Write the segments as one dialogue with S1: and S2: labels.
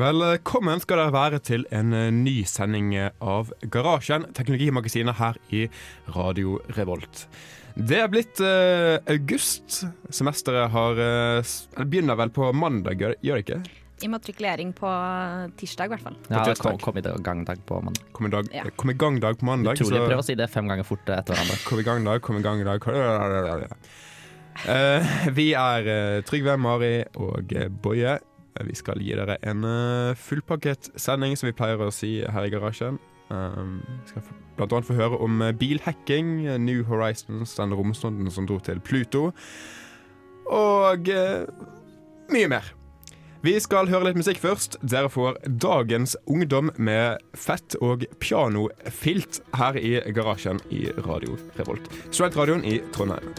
S1: Velkommen eh, skal dere være til en eh, ny sending av Garasjen, teknologimagasinet her i Radio Revolt. Det er blitt eh, august. Semesteret har eh, s- eller begynner vel på mandag, gjør gjør det ikke?
S2: Immatrikulering på tirsdag, i hvert fall.
S1: På
S3: Ja, det kom,
S1: tirsdag.
S3: kom i dag- gangdag på mandag.
S1: Kom i, dag, eh,
S2: Ja.
S1: kom i gang dag på mandag.
S3: Utrolig.
S1: så-
S3: Prøv å si det fem ganger fort etter hverandre.
S1: Kom i gang, da. Kom i gang, da. Eh, vi er eh, Trygve, Mari og eh, Boje. Eh, Vi skal gi dere en eh, fullpakket sending, som vi pleier å si her i garasjen. Um, vi skal få- blant annet få høre om eh, bilhacking, eh, New Horizons, den romsonden som dro til Pluto, og eh, mye mer. Vi skal høre litt musikk først. Dere får Dagens Ungdom med fett og pianofilt her i garasjen i Radio Revolt. Studentradioen i Trondheim.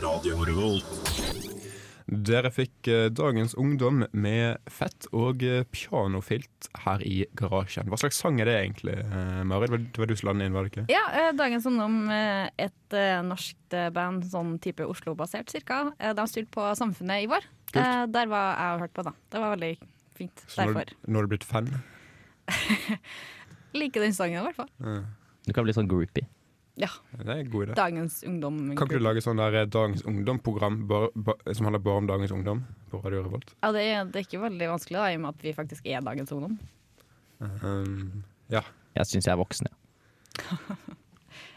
S4: Radio Revolt.
S1: Dere fikk eh, Dagens Ungdom med fett og eh, pianofilt her i garasjen. Hva slags sang er det egentlig, eh, Marit? Det var- Det var du som la den inn, var det ikke?
S2: Ja, eh, Dagens Ungdom, eh, et eh, norsk eh, band, sånn type Oslo-basert cirka. Eh, De spilte på Samfunnet i vår.
S1: Kult.
S2: Eh, Der var jeg og hørte på, da. Det var veldig fint.
S1: Så nå,
S2: Derfor.
S1: nå er du blitt fan?
S2: Liker den sangen, i hvert fall.
S3: Du kan bli sånn groupie.
S2: Ja.
S1: Det er en god idé.
S2: Dagens Ungdom.
S1: Kan ikke du lage sånn der eh, Dagens Ungdom-program bare- bare- som handler bare om Dagens Ungdom på Radio Revolt?
S2: Ja, det, er, det er ikke veldig vanskelig, da, i og med at vi faktisk er Dagens Ungdom.
S1: Um, ja.
S3: Jeg syns jeg er voksen, ja.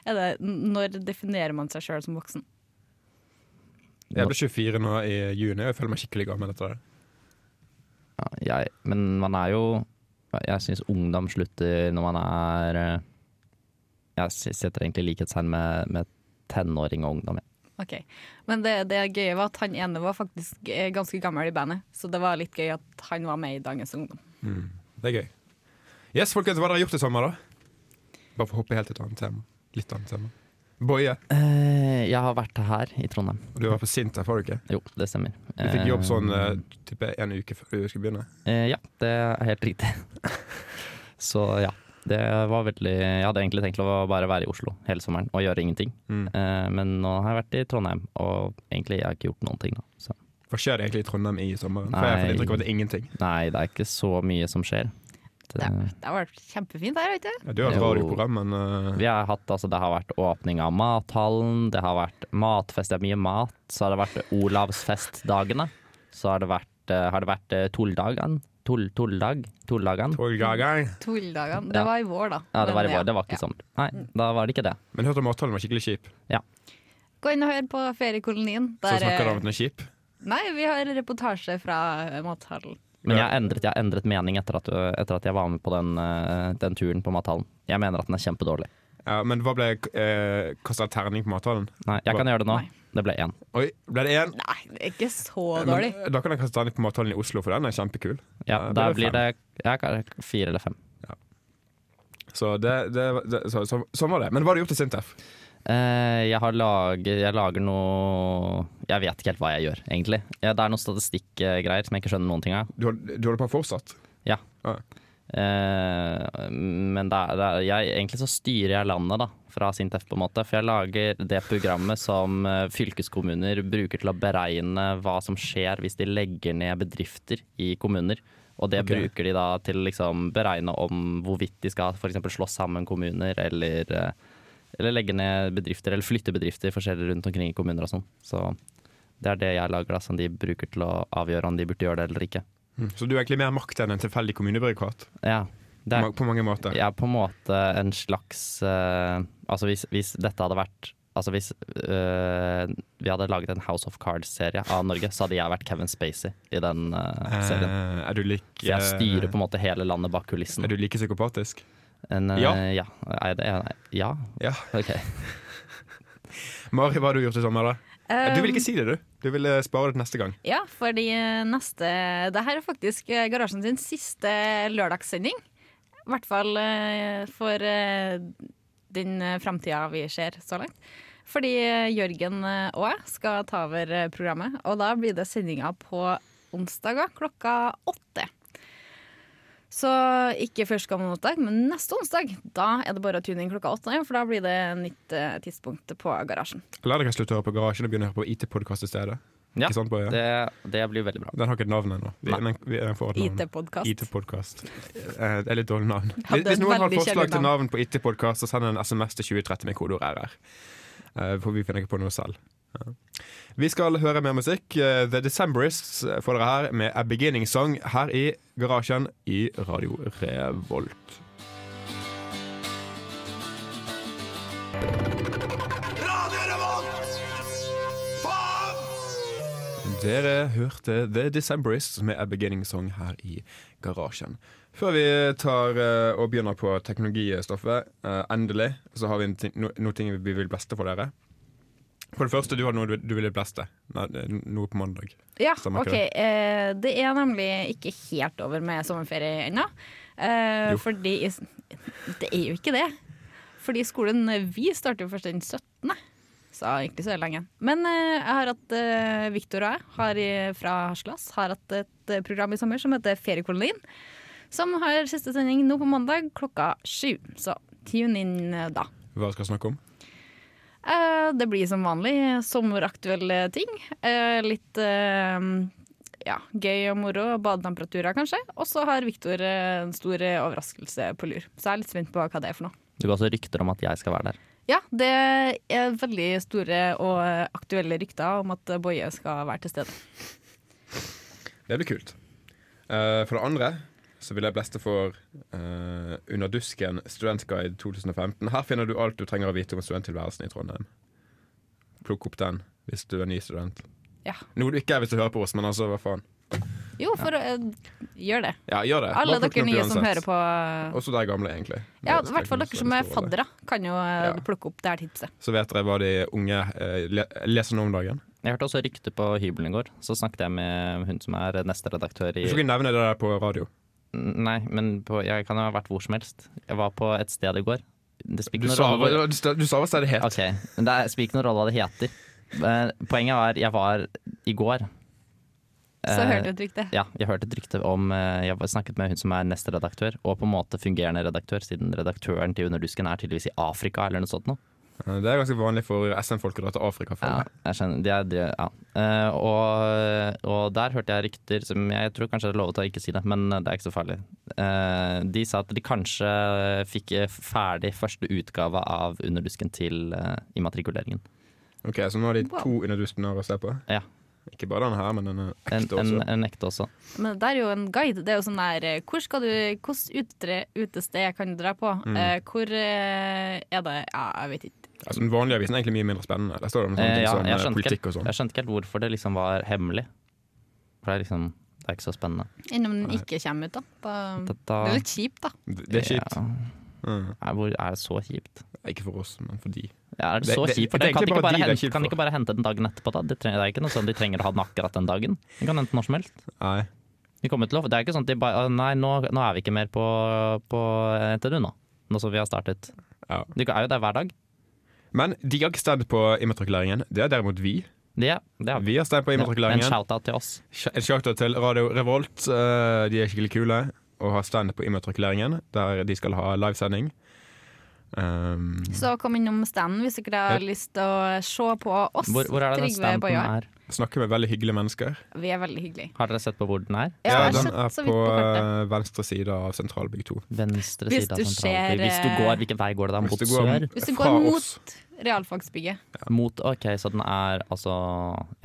S2: Er det, n- når definerer man seg sjøl som voksen?
S1: Jeg ble 24 nå i juni, og jeg føler meg skikkelig gammel etter det.
S3: ja jeg, men man er jo Jeg syns ungdom slutter når man er eh, Jeg s- setter egentlig likhetstegn med, med tenåring og ungdom. Ja.
S2: Ok, Men det, det gøye var at han ene var faktisk eh, ganske gammel i bandet, så det var litt gøy at han var med i Dagens Ungdom.
S1: Det er gøy. Yes, folkens, Hva har dere gjort i sommer, da? Bare for å hoppe helt til et annet tema. Litt annet tema. Boje,
S3: Eh, jeg har vært her i Trondheim.
S1: og du var på sint her, var du ikke?
S3: Jo, det stemmer.
S1: Du fikk jobb sånn
S3: Eh,
S1: eh, type en uke før du skulle begynne.
S3: Eh, ja, det er helt riktig. Så ja. Det var veldig Jeg hadde egentlig tenkt å bare være i Oslo hele sommeren og gjøre ingenting.
S1: Mm.
S3: Eh, men nå har jeg vært i Trondheim, og egentlig jeg har ikke gjort noen ting. Da. Så.
S1: Hva skjer det egentlig i Trondheim i sommeren? For jeg får
S3: Nei.
S1: inntrykk av at det er ingenting.
S3: Nei, det er ikke så mye som skjer. Det,
S2: Det,
S3: eh,
S2: det har vært kjempefint her, vet du.
S1: Ja, du har et
S3: Jo.
S1: radioprogram, men eh,
S3: vi har hatt, altså, det har vært åpning av mathallen, det har vært matfest, det er mye mat. Så har det vært Olavsfestdagene. Så har det vært, eh, har det vært eh, Tulldagen. Tull, tulldag, Tulldagen.
S1: Torgeir.
S2: Tulldagene.
S3: Ja.
S2: Det var i vår, da.
S3: Ja, det var i
S2: Men,
S3: vår, det var ikke
S2: ja.
S3: sommer. Nei, da var det ikke det.
S1: Men hørte om avtalen var skikkelig kjip.
S3: sånn.
S2: Gå inn og hør på Feriekolonien.
S1: Så
S2: Der,
S1: snakker du om
S2: eh,
S1: at den er kjip.
S2: Nei, vi har reportasje fra eh, mathallen.
S3: Men jeg har endret, jeg har endret mening etter at, etter at jeg var med på den, eh, den turen på mathallen. Jeg mener at den er kjempedårlig.
S1: Ja, men hva ble uh, kasta terning på matavtalen?
S3: Nei, jeg kan gjøre det nå.
S2: Nei.
S3: Det ble én.
S1: Oi, ble det én?
S2: Nei, det er ikke så
S1: Men
S2: dårlig.
S1: Da kan jeg kaste terning på matavtalen i Oslo, for den er kjempekul. Eh,
S3: Ja,
S1: det
S3: da
S1: ble
S3: blir det jeg kan, fire eller fem.
S1: Så, det, det, det, så, så, sånn var det. Men hva har du gjort i Sintef?
S3: Eh, jeg, har lager, jeg lager noe Jeg vet ikke helt hva jeg gjør, egentlig. Ja, det er noen statistikkgreier som jeg ikke skjønner noen ting av.
S1: Du, hold- du holder på fortsatt?
S3: Ja.
S1: Ah.
S3: Eh, men det er, det er, jeg, egentlig så styrer jeg landet da, fra Sintef, på en måte. For jeg lager det programmet som eh, fylkeskommuner bruker til å beregne hva som skjer hvis de legger ned bedrifter i kommuner. Og det
S1: Ok.
S3: bruker de da til liksom beregne om hvorvidt de skal f.eks. slå sammen kommuner eller, eh, eller legge ned bedrifter eller flytte bedrifter forskjellig rundt omkring i kommuner og sånn. Så det er det jeg lager da, som de bruker til å avgjøre om de burde gjøre det eller ikke.
S1: Så du er egentlig mer makt enn en tilfeldig kommunebyråkrat?
S3: Ja, det er
S1: Ma- På mange måter.
S3: Jeg er på en måte en slags eh, Altså hvis, hvis dette hadde vært Altså hvis eh, vi hadde laget en House of Cards-serie av Norge, så hadde jeg vært Kevin Spacey i den eh, serien.
S1: Eh, er du like
S3: For jeg styrer på en måte hele landet bak kulissen.
S1: Er du like psykopatisk?
S3: En, eh,
S1: Ja.
S3: ja. Er det, er, ja?
S1: Ja.
S3: Ok.
S1: Mari, hva har du gjort i sommer, da? Eh, du vil
S2: Um,
S1: ikke si det, du. Du vil eh, spare det til neste gang.
S2: Ja, fordi eh, neste Det her er faktisk eh, Garasjen sin siste lørdagssending. I hvert fall eh, for eh, den eh, framtida vi ser så langt. Fordi eh, Jørgen eh, og jeg skal ta over eh, programmet, og da blir det sendinga på onsdager klokka åtte. Så ikke førstkommende onsdag, men neste onsdag. Da er det bare å tune inn klokka åtte, for da blir det nytt eh, tidspunkt på Garasjen.
S1: Eller dere kan slutte å høre på Garasjen og begynne å høre på IT-podkast i stedet.
S3: Ja,
S1: Ikke sant, Bøye?
S3: det, det blir veldig bra.
S1: Den har ikke et navn ennå. Vi-
S3: Nei.
S1: Den, vi- den får et navn.
S2: IT-podkast.
S1: IT-podkast. Eh, Det er litt dårlig navn.
S2: Hadde
S1: Hvis hvis
S2: et
S1: noen har et
S2: veldig
S1: forslag
S2: kjedelig
S1: til
S2: navn.
S1: navn på IT-podkast, så send en SMS til 2030 med kodeord RR. Eh, For vi finner ikke på noe selv. Ja. Vi skal høre mer musikk. Eh, The Decemberists får dere her med A Beginning Song her i garasjen i Radio Revolt.
S4: Radio Revolt! Faen!
S1: Dere hørte The Decemberists med A Beginning Song her i garasjen. Før vi tar eh, og begynner på teknologistoffet, eh, endelig, så har vi en ting, no, noe ting vi vil beste for dere. For det første, du hadde noe du, du ville bleste. Nei, det er noe på mandag.
S2: Ja,
S1: Stemmer ikke
S2: ok. Eh, det er nemlig ikke helt over med sommerferie ennå. Eh,
S1: Jo.
S2: fordi Det er jo ikke det. Fordi skolen eh, vi starter jo først den 17. Så egentlig så er det lenge. Men eh, jeg har hatt eh, Victor og jeg har, i- fra Haslas har hatt et eh, program i sommer som heter Feriekolonien. Som har siste sending nå på mandag klokka sju. Så tune inn eh, da.
S1: Hva skal jeg snakke om?
S2: Eh, Det blir som vanlig sommeraktuelle ting. Eh, Litt eh, ja, gøy og moro, badetemperaturer kanskje. Og så har Viktor en stor eh, overraskelse på lur. Så jeg er litt spent på hva det er for noe.
S3: Det går også rykter om at jeg skal være der.
S2: Ja, det er veldig store og eh, aktuelle rykter om at Boje skal være til stede.
S1: Det blir kult. Eh, for det andre så vil jeg bleste for eh, Under dusken studentguide 2015. Her finner du alt du trenger å vite om studenttilværelsen i Trondheim. Plukk opp den hvis du er ny student.
S2: Ja.
S1: Noe du ikke er hvis du hører på oss, men altså, hva faen.
S2: Jo, for å gjør det.
S1: Ja, gjør det.
S2: Alle dere nye som hører på.
S1: Også de gamle, egentlig.
S2: Ja,
S1: Det
S2: i
S1: skal
S2: hvert fall
S1: ikke
S2: dere som
S1: være
S2: er
S1: så stor rolle.
S2: faddere, kan jo eh,
S1: Ja.
S2: plukke opp det her tipset.
S1: Så vet dere hva de unge eh, le leser nå om dagen.
S3: Jeg hørte også rykter på hybelen i går. Så snakket jeg med hun som er neste redaktør i
S1: Du skal ikke nevne det der på radio.
S3: Nei, men på, jeg kan jo ha vært hvor som helst. Jeg var på et sted i går. Det
S1: Du
S3: spiller ingen
S1: sa,
S3: rolle hvor-
S1: hva- du sta- du sa hva stedet het.
S3: Ok, men det er- spiller ikke noen rolle hva det heter. Eh, Poenget var, jeg var i går.
S2: Så
S3: Eh,
S2: hørte du et rykte.
S3: Ja, jeg hørte et rykte om eh, Jeg har snakket med hun som er neste redaktør, og på en måte fungerende redaktør, siden redaktøren til Underdusken er tydeligvis i Afrika eller noe sånt noe.
S1: Eh, Det er ganske vanlig for SM-folk å dra til Afrika for.
S3: Ja, jeg skjønner. Det er, det, ja. Eh, og, og der hørte jeg rykter som jeg tror kanskje jeg hadde lovet å ikke si det, men det er ikke så farlig. Eh, de sa at de kanskje fikk eh, ferdig første utgave av Underdusken til eh, immatrikuleringen.
S1: Ok, Så nå har de
S2: Wow.
S1: to underdustener å se på.
S3: Ja.
S1: Ikke bare denne her, men den er
S3: En,
S1: ekte
S3: en,
S1: også.
S3: en ekte også.
S2: Men det er jo en guide. Det er jo sånn der eh, Hvor skal du Hvilket utre, utested kan du dra på?
S3: Mm.
S2: Eh, hvor eh, er det Ja, jeg vet ikke.
S1: Altså, den vanlige avisen er egentlig mye mindre spennende. Der står det om sånne
S3: Eh,
S1: ting
S3: ja,
S1: som
S3: jeg,
S1: eh,
S3: skjønte
S1: politikk
S3: ikke,
S1: og sånn.
S3: jeg skjønte ikke helt hvorfor det liksom var hemmelig. For det er liksom Det er ikke så spennende.
S2: Enn om den ikke kommer ut, da. da.
S3: Dette,
S2: Mm. Det er litt kjipt, da.
S1: Det det er kjipt.
S3: Ja.
S1: Mm.
S3: Er, hvor, er det så kjipt?
S1: Ikke for oss, men for de.
S3: Ja, er det
S1: Det-
S3: så
S1: det-
S3: kjipt? For
S1: det er
S3: dere kan,
S1: egentlig
S3: ikke
S1: bare
S3: bare
S1: de det er
S3: hente,
S1: kjipt
S3: kan
S1: for.
S3: ikke bare hente den dagen etterpå, da? Det, tre- det er ikke noe sånn de trenger å ha den akkurat den dagen. De kan hente når som helst.
S1: Nei.
S3: De kommer til å, det er ikke sånn at de bare «Å, Nei, nå, nå er vi ikke mer på, på NTNU nå. Nå som vi har startet.
S1: Ja.
S3: De er jo der hver dag.
S1: Men de har ikke stemt på immatrikuleringen. Det er derimot vi.
S3: Det, det har vi.
S1: Vi har stemt på
S3: Ja, en
S1: immatrikuleringen.
S3: shout-out til oss.
S1: En shout-out til Radio Revolt. Eh, De er skikkelig kule og har stand på immatrikuleringen, der de skal ha livesending. Um,
S2: Så kom innom standen hvis dere har lyst til å se på oss.
S3: Hvor, hvor er det den
S2: Trygve
S3: standen
S2: Boje og jeg.
S3: er?
S1: snakker med veldig hyggelige mennesker.
S2: Vi er veldig hyggelige.
S3: Har dere sett på hvor den er?
S2: Ja, jeg har
S1: den
S2: sett
S1: er
S2: så
S1: på,
S2: vidt på kartet.
S1: eh, venstre side av Sentralbygg 2.
S3: Venstre
S2: Hvis
S3: side av
S2: du
S3: sentralbygg.
S2: ser,
S3: Hvis du
S2: eh,
S3: går, hvilken vei går det da?
S1: Hvis
S3: Mot
S1: du går-
S3: sør?
S2: Hvis du
S1: Fra
S2: går
S1: oss.
S2: mot realfagsbygget.
S3: Mot, ok, så den er altså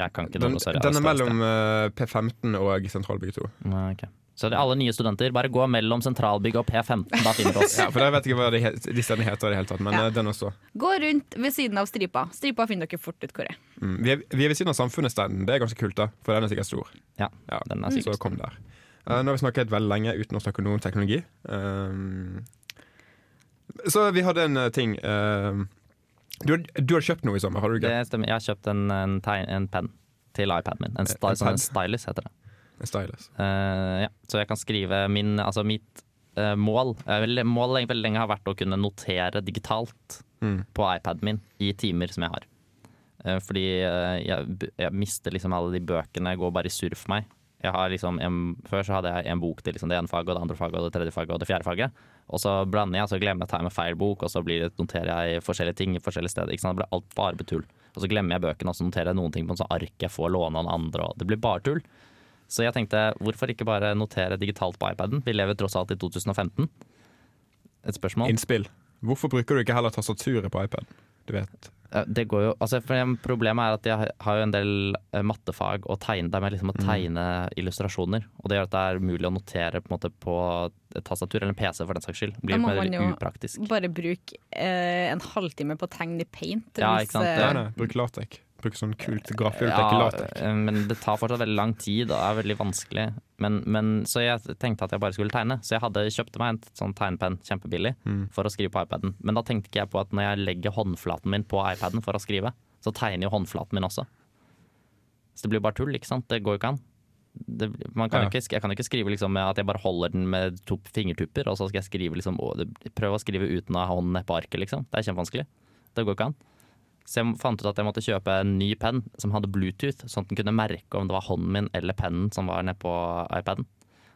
S3: Jeg kan ikke
S1: Den,
S3: noe, sorry.
S1: den er
S3: altså,
S1: mellom eh, P15 og Sentralbygg 2.
S3: Nei, ok. Så det er alle nye studenter, bare gå mellom sentralbygg og P15, da finner du oss.
S1: Ja, for der vet jeg ikke hva de, he- de stedene heter i det hele tatt, men
S2: Ja.
S1: eh, den også.
S2: Gå rundt ved siden av stripa. Stripa finner dere fort ut hvor er.
S1: Mm. Vi, er, vi er ved siden av Samfunnet-standen. Det er ganske kult, da, for den er sikkert stor.
S3: Ja, den er
S1: Så
S3: sikkert
S1: kom der. Eh, nå har vi snakket veldig lenge uten å snakke noe om teknologi. Ehm, så vi hadde en eh, ting ehm, du, had- du hadde kjøpt noe i sommer, har du
S3: Det
S1: ikke?
S3: stemmer. Jeg har kjøpt en, en, tegn, en penn til iPaden min. En, sti,
S1: En
S3: sånn,
S1: pad?
S3: en stylus heter det.
S1: En Stylus.
S3: Eh, ja. Så jeg kan skrive min Altså mitt eh, mål eh, vel- Målet veldig lenge har vært å kunne notere digitalt
S1: Mm.
S3: på iPaden min i timer som jeg har. Eh, fordi eh, jeg, b- jeg mister liksom alle de bøkene, jeg går bare i surr for meg. Jeg har liksom en, før så hadde jeg en bok til liksom det ene faget, og det andre faget, og det tredje faget og det fjerde faget. Og så blander jeg, så glemmer jeg å ta med feil bok, og så blir det, noterer jeg forskjellige ting i forskjellige steder. Ikke sant? Det blir alt bare betull. Og så glemmer jeg bøkene, og så noterer jeg noen ting på en sånn ark jeg får låne av den andre, og det blir bare tull. Så jeg tenkte, hvorfor ikke bare notere digitalt på iPaden? Vi lever tross alt i 2015. Et spørsmål.
S1: Innspill. Hvorfor bruker du ikke heller tastaturet på iPad? Du vet.
S3: Ja, Det går jo, altså for em- Problemet er at jeg har- har jo en del eh, mattefag og tegne, der med liksom å
S2: Mm.
S3: tegne illustrasjoner. Og det gjør at det er mulig å notere på, en måte på et tastatur, eller en PC for den saks skyld. Det
S2: Da
S3: Blir
S2: må
S3: mer
S2: man jo-
S3: upraktisk.
S2: Bare bruk eh, en halvtime på å tegne i paint.
S3: Ja,
S2: hvis,
S3: ikke sant,
S2: eh,
S1: Nei, nei, bruk latek. Bruk sånn kult graffullt
S3: Ja,
S1: latek.
S3: eh, men det tar fortsatt veldig lang tid og er veldig vanskelig. Men, men, så jeg tenkte at jeg bare skulle tegne. Så jeg hadde kjøpte meg en sånn tegnepenn kjempebillig
S2: Mm.
S3: for å skrive på iPaden. Men da tenkte ikke jeg på at når jeg legger håndflaten min på iPaden for å skrive, så tegner jo håndflaten min også. Så det blir bare tull, ikke sant? Det går jo ikke an. Det, man kan
S1: Ja.
S3: jo ikke, sk- jeg kan jo ikke skrive liksom med at jeg bare holder den med to fingertupper, og så skal jeg skrive liksom, å, det- prøve å skrive uten å ha hånden nedpå arket, liksom. Det er kjempevanskelig. Det går ikke an. Så jeg fant ut at jeg måtte kjøpe en ny penn som hadde Bluetooth, sånn at den kunne merke om det var hånden min eller pennen som var nedpå iPaden.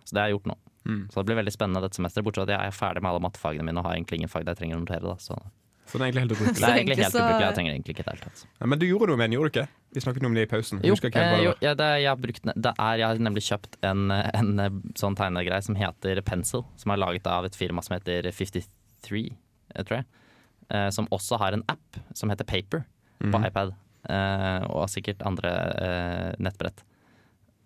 S3: Så det har jeg gjort nå. Så det blir veldig spennende dette semesteret, bortsett fra at jeg er ferdig med alle mattefagene mine og har egentlig ingen fag jeg trenger å notere. Da. Så
S1: Så den er egentlig helt
S3: det
S1: ubrukelig.
S3: er egentlig
S2: egentlig
S3: helt
S2: så-
S3: ubrukelig. Jeg trenger egentlig ikke det hele tatt.
S1: Ja, Men du gjorde noe med den, gjorde du ikke? Vi snakket om det i pausen.
S3: Jo,
S1: Husker ikke helt hva
S3: eh,
S1: det
S3: jo
S1: var.
S3: ja, det, jeg, har brukt, det er, jeg har nemlig kjøpt en, en sånn tegnegreie som heter Pencil, som er laget av et firma som heter 53, eh, tror jeg. eh, Som også har en app som heter Paper på
S1: Mhm.
S3: iPad, eh, og sikkert andre eh, nettbrett.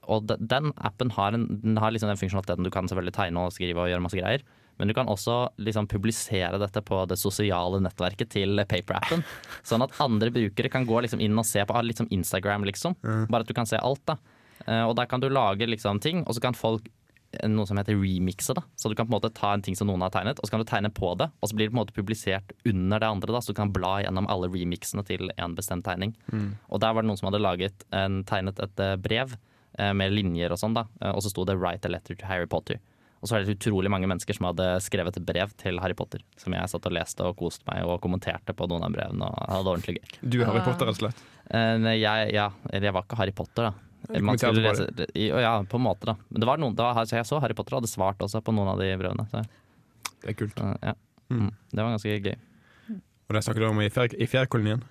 S3: Og de- den appen har, en, den har liksom den funksjonaliteten du kan selvfølgelig tegne og skrive og gjøre masse greier. Men du kan også liksom publisere dette på det sosiale nettverket til Paper-appen. Sånn at andre brukere kan gå liksom inn og se på ah, litt som Instagram, liksom. Bare at du kan se alt, da. Eh, Og der kan du lage liksom ting, og så kan folk eh, noe som heter remixe. da Så du kan på en måte ta en ting som noen har tegnet, og så kan du tegne på det. Og så blir det på en måte publisert under det andre, da så du kan bla gjennom alle remixene til en bestemt tegning. Og der var det noen som hadde laget en, tegnet et eh, brev eh, med linjer og sånn, da Eh, og så sto det 'Write a letter to Harry Potter'. Og så var det utrolig mange mennesker som hadde skrevet et brev til Harry Potter. Som jeg satt og leste og koste meg og kommenterte på noen av brevene. og hadde ordentlig gøy.
S1: Du er Harry Potter, rett og slett.
S3: Eh, nei, jeg, ja, eller jeg var ikke Harry Potter, da.
S1: Du
S3: Man skulle lese,
S1: kommenterte
S3: i- å ja, på en måte, da. Men det var noen, det var, så jeg så Harry Potter og hadde svart også på noen av de brevene. Så,
S1: Det er kult.
S3: eh, ja.
S1: Mm.
S3: mm. Det var ganske gøy.
S1: Og det snakket du om i, fjær, i fjærkolonien.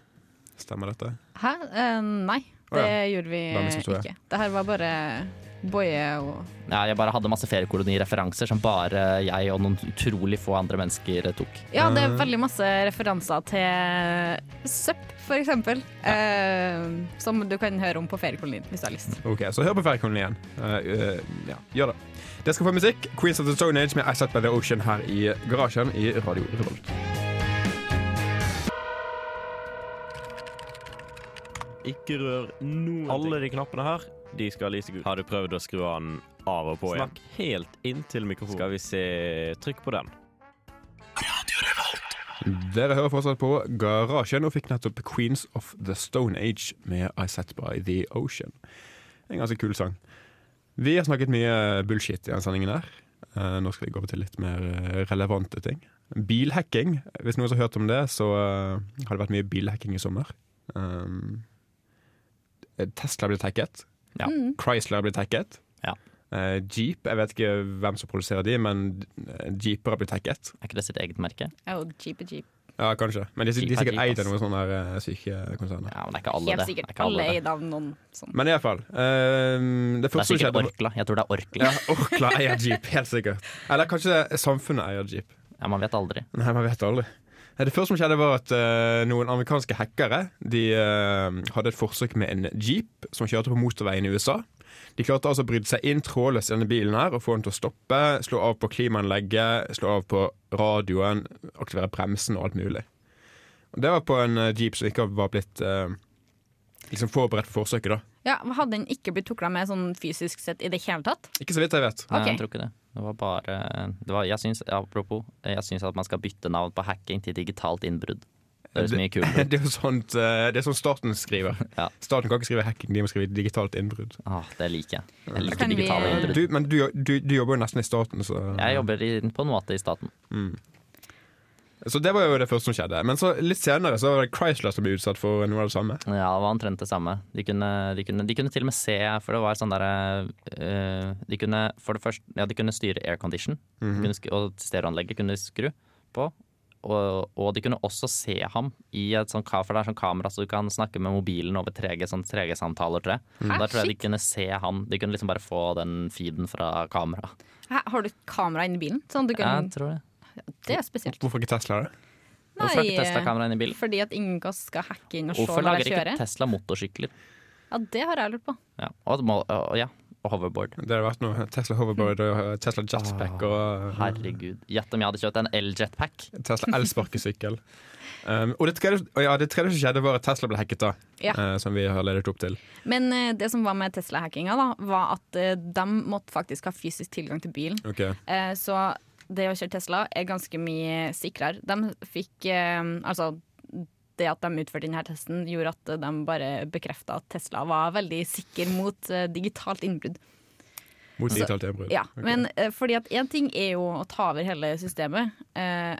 S1: Stemmer dette?
S2: Hæ? Eh, nei,
S1: Å ja.
S2: det gjorde vi
S1: Da
S2: eh,
S1: misforstod jeg.
S2: ikke. Det her var bare Boje og
S3: Ja, jeg bare hadde masse feriekolonireferanser som bare jeg og noen utrolig få andre mennesker tok.
S2: Ja, det er
S3: Eh.
S2: veldig masse referanser til søpp, for eksempel. Eh, som du kan høre om på feriekolonien, hvis du har lyst.
S1: Ok, så hør på Fjærkolonien. Eh, eh, ja, gjør det. Dere skal få musikk. Queens of the Stone Age med I Set By The Ocean her i garasjen i Radio Revolt.
S5: Ikke rør noen Alle de knappene her, de skal i seg ut. Har du prøvd å skru den av og på igjen? Snakk helt inntil mikrofonen. Skal vi se Trykk på den.
S1: Dere hører fortsatt på Garasjen og fikk nettopp Queens of the Stone Age med I Set By The Ocean. En ganske kul sang. Vi har snakket mye bullshit i denne sendingen her. Eh, Nå skal vi gå over til litt mer eh, relevante ting. Bilhacking. Hvis noen har hørt om det, så eh, har det vært mye bilhacking i sommer. Um, Tesla ble hacket.
S3: Ja.
S1: Chrysler ble hacket.
S3: Ja.
S1: Eh, Jeep, jeg vet ikke hvem som produserer de, men eh, jeeper har blitt hacket.
S3: Er ikke det sitt eget merke?
S2: Oh, jeep og jeep.
S1: Ja, kanskje. Men de, de er
S3: Jeep er
S1: sikkert
S3: Jeep,
S1: eid av
S3: ass.
S1: noen sånne der, eh, syke konserner.
S3: Ja, men det er ikke alle,
S2: Helt
S3: det.
S2: sikkert.
S3: det er ikke alle,
S2: Alle er
S3: det.
S2: eid av noen sånn.
S1: Men i hvert fall. eh, det
S3: det er
S1: første som
S3: sikkert
S1: skjedde
S3: Orkla. Jeg tror det er Orkla.
S1: ja, Orkla eier Jeep, helt sikkert. Eller kanskje samfunnet eier Jeep.
S3: Ja, man vet aldri.
S1: Nei, man vet aldri. Det første som skjedde, var at eh, noen amerikanske hackere De eh, hadde et forsøk med en jeep som kjørte på motorveien i USA. De klarte altså å bryte seg inn trådløst i denne bilen her og få den til å stoppe. Slå av på klimaanlegget, slå av på radioen, aktivere bremsen og alt mulig. Og det var på en eh, jeep som ikke var blitt eh, liksom forberedt for forsøket, da.
S2: Ja, Hadde den ikke blitt tukla med sånn fysisk sett i det hele tatt?
S1: Ikke så vidt jeg vet.
S3: Nei,
S2: Ok.
S3: jeg tror ikke det. Det var bare det var, jeg synes, Apropos, jeg syns at man skal bytte navn på hacking til digitalt innbrudd. Det høres mye kulere ut.
S1: Det er jo sånt, eh, det er sånn staten skriver.
S3: Ja.
S1: Staten kan ikke skrive hacking, de må skrive digitalt innbrudd.
S3: Åh, Ah, det liker jeg. Jeg liker
S2: Kan vi-
S3: digitale innbrudd.
S1: Du, men du, du, du jobber jo nesten i staten, så
S3: Jeg jobber i, på en måte i staten.
S1: Mm. Så det var jo det første som skjedde. Men så litt senere så var det Chrysler som ble utsatt for noe av det samme.
S3: Ja, det var omtrent det samme. De kunne, de kunne, de kunne til og med se, for det var sånn derre eh, De kunne for det første, ja, de kunne styre aircondition, mm og stereoanlegget kunne de skru på. Og, og de kunne også se ham i et sånt, ka- for det er sånn kamera så du kan snakke med mobilen over 3G, sånn 3G-samtaler, tror jeg.
S2: Hæ,
S3: Der tror jeg de
S2: shit.
S3: kunne se han. De kunne liksom bare få den feeden fra kameraet.
S2: Hæ, Har du et kamera inni bilen? Sånn at du kan,
S3: Jeg tror det.
S2: det er spesielt. eh,
S1: Hvorfor ikke Tesla det?
S3: Hvorfor har ikke Tesla kamera inne i bilen?
S2: Fordi at ingen av oss skal hacke inn og se
S3: Hvorfor
S2: når
S3: lager
S2: jeg
S3: ikke
S2: kjører.
S3: Tesla motorsykler?
S2: Ja, det har jeg lurt på.
S3: Ja, og, må- og, ja, og hoverboard.
S1: Det hadde vært noe Tesla hoverboard og eh, Tesla jetpack
S3: Ah,
S1: og eh,
S3: Herregud. Gjett om jeg hadde kjøpt en eljetpack.
S1: Tesla elsparkesykkel. Um, og det tredje, og ja, det tredje som skjedde, var at Tesla ble hacket, da.
S2: Ja.
S1: eh, som vi har ledet opp til.
S2: Men eh, det som var med Tesla-hackinga, da, var at eh, de måtte faktisk ha fysisk tilgang til bilen.
S1: Ok.
S2: Eh, så det å kjøre Tesla er ganske mye sikrere. De fikk eh, Altså, det at de utførte denne testen, gjorde at eh, de bare bekrefta at Tesla var veldig sikker mot eh, digitalt innbrudd.
S1: Mot digitalt innbrudd.
S2: Ja,
S1: Ok.
S2: men eh, fordi at én ting er jo å ta over hele systemet. eh,